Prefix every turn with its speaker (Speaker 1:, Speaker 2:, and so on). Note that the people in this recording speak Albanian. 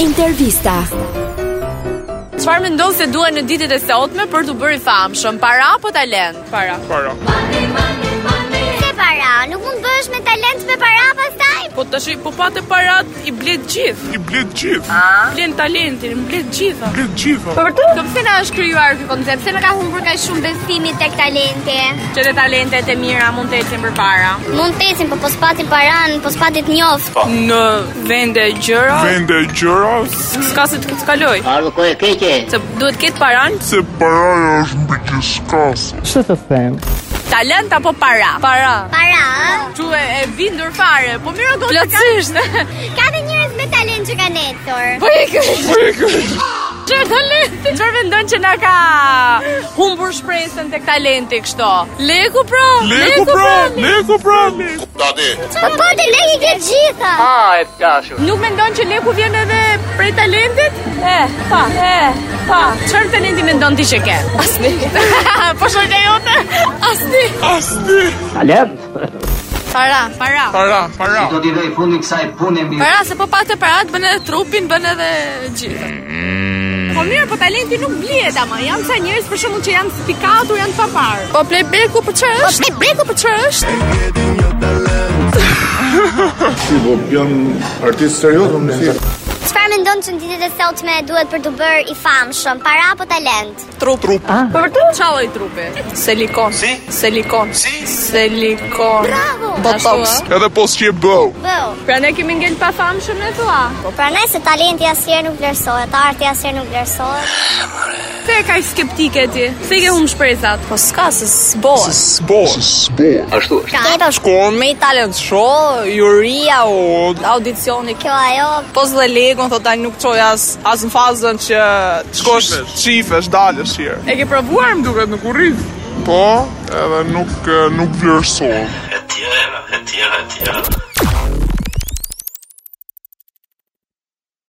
Speaker 1: Intervista.
Speaker 2: Çfarë mendon se duan në ditët e sotme për të bërë i famshëm? Para apo talent? Para.
Speaker 3: Para.
Speaker 4: Se para, nuk mund bësh me talent me para pastaj?
Speaker 2: Po tash po patë parat i blet gjithë.
Speaker 3: I blet gjithë.
Speaker 2: Blen talentin, mblet gjitha.
Speaker 3: Blet gjithë.
Speaker 2: Po vërtet?
Speaker 4: Pse na është krijuar
Speaker 2: po
Speaker 4: ky koncept? Pse na ka humbur kaq shumë besimi tek talenti?
Speaker 2: Që dhe talentet e mira mund të ecin përpara.
Speaker 4: Mund të ecin, po po spatin paran, po spatit njoft.
Speaker 2: Në vende e gjëra,
Speaker 3: Vende gjëra
Speaker 2: s'ka se të kaloj.
Speaker 5: Ardhë kohë e keqe.
Speaker 2: Se duhet ketë paran,
Speaker 3: se paraja është mbi gjithçkas.
Speaker 2: talent apo para? Para.
Speaker 4: Para, ë?
Speaker 2: Ju e, e bindur fare, po mirë do të plotësisht.
Speaker 4: Ka dhe njerëz me talent që kanë ecur.
Speaker 2: Po e ke. Çfarë talenti? Çfarë mendon që na ka humbur shpresën tek talenti kështu? Leku pra,
Speaker 3: Leku pra, leku pra, leku.
Speaker 4: Po po të lejë të gjitha.
Speaker 2: Nuk mendon që leku vjen edhe prej talentit? E, pa, e, pa. Çfarë talenti mendon ti që ke? Asni. po shoqja jote, asni.
Speaker 3: Asni.
Speaker 5: Talent?
Speaker 2: Para, para.
Speaker 3: Para, para.
Speaker 5: Do t'i dhej fundi kësaj pune mi.
Speaker 2: Para se po patë parat bën edhe trupin, bën edhe gjithë. Po mirë, po talenti nuk blihet ama. Jam sa njerëz për shembull që janë spikatur, janë papar. Po playback-u për çfarë është? Po playback-u për çfarë është?
Speaker 6: Po jam artist serioz unë. Si.
Speaker 4: Çfarë mendon që në ditët e sotme duhet për të bërë i famshëm? Para apo talent?
Speaker 2: Trup. Trup. Po vërtet? Çfarë lloj trupi? Silikon. Si? Silikon. Si? Silikon.
Speaker 4: Bravo!
Speaker 2: Botox.
Speaker 3: Edhe po s'ke bëu.
Speaker 4: Bëu.
Speaker 2: Pra ne kemi ngel pa famshëm e thua.
Speaker 4: Po prandaj se talenti asnjëherë nuk vlerësohet, arti asnjëherë nuk vlerësohet.
Speaker 2: Pse e kaq skeptike ti? Pse i ke humb shpresat? Po s'ka se s'bohet.
Speaker 3: S'bo. S'bo.
Speaker 5: Ashtu është.
Speaker 2: Ata shkon me i talent show, juria o audicioni.
Speaker 4: Kjo ajo
Speaker 2: Pos dhe legon thot tani nuk çoj as as në fazën që
Speaker 3: Shkosh, çifesh, dalësh herë.
Speaker 2: e ke provuar më duket nuk urrit.
Speaker 3: Po, edhe nuk eh, nuk vlerësohet.
Speaker 7: Etjera, etjera, etjera.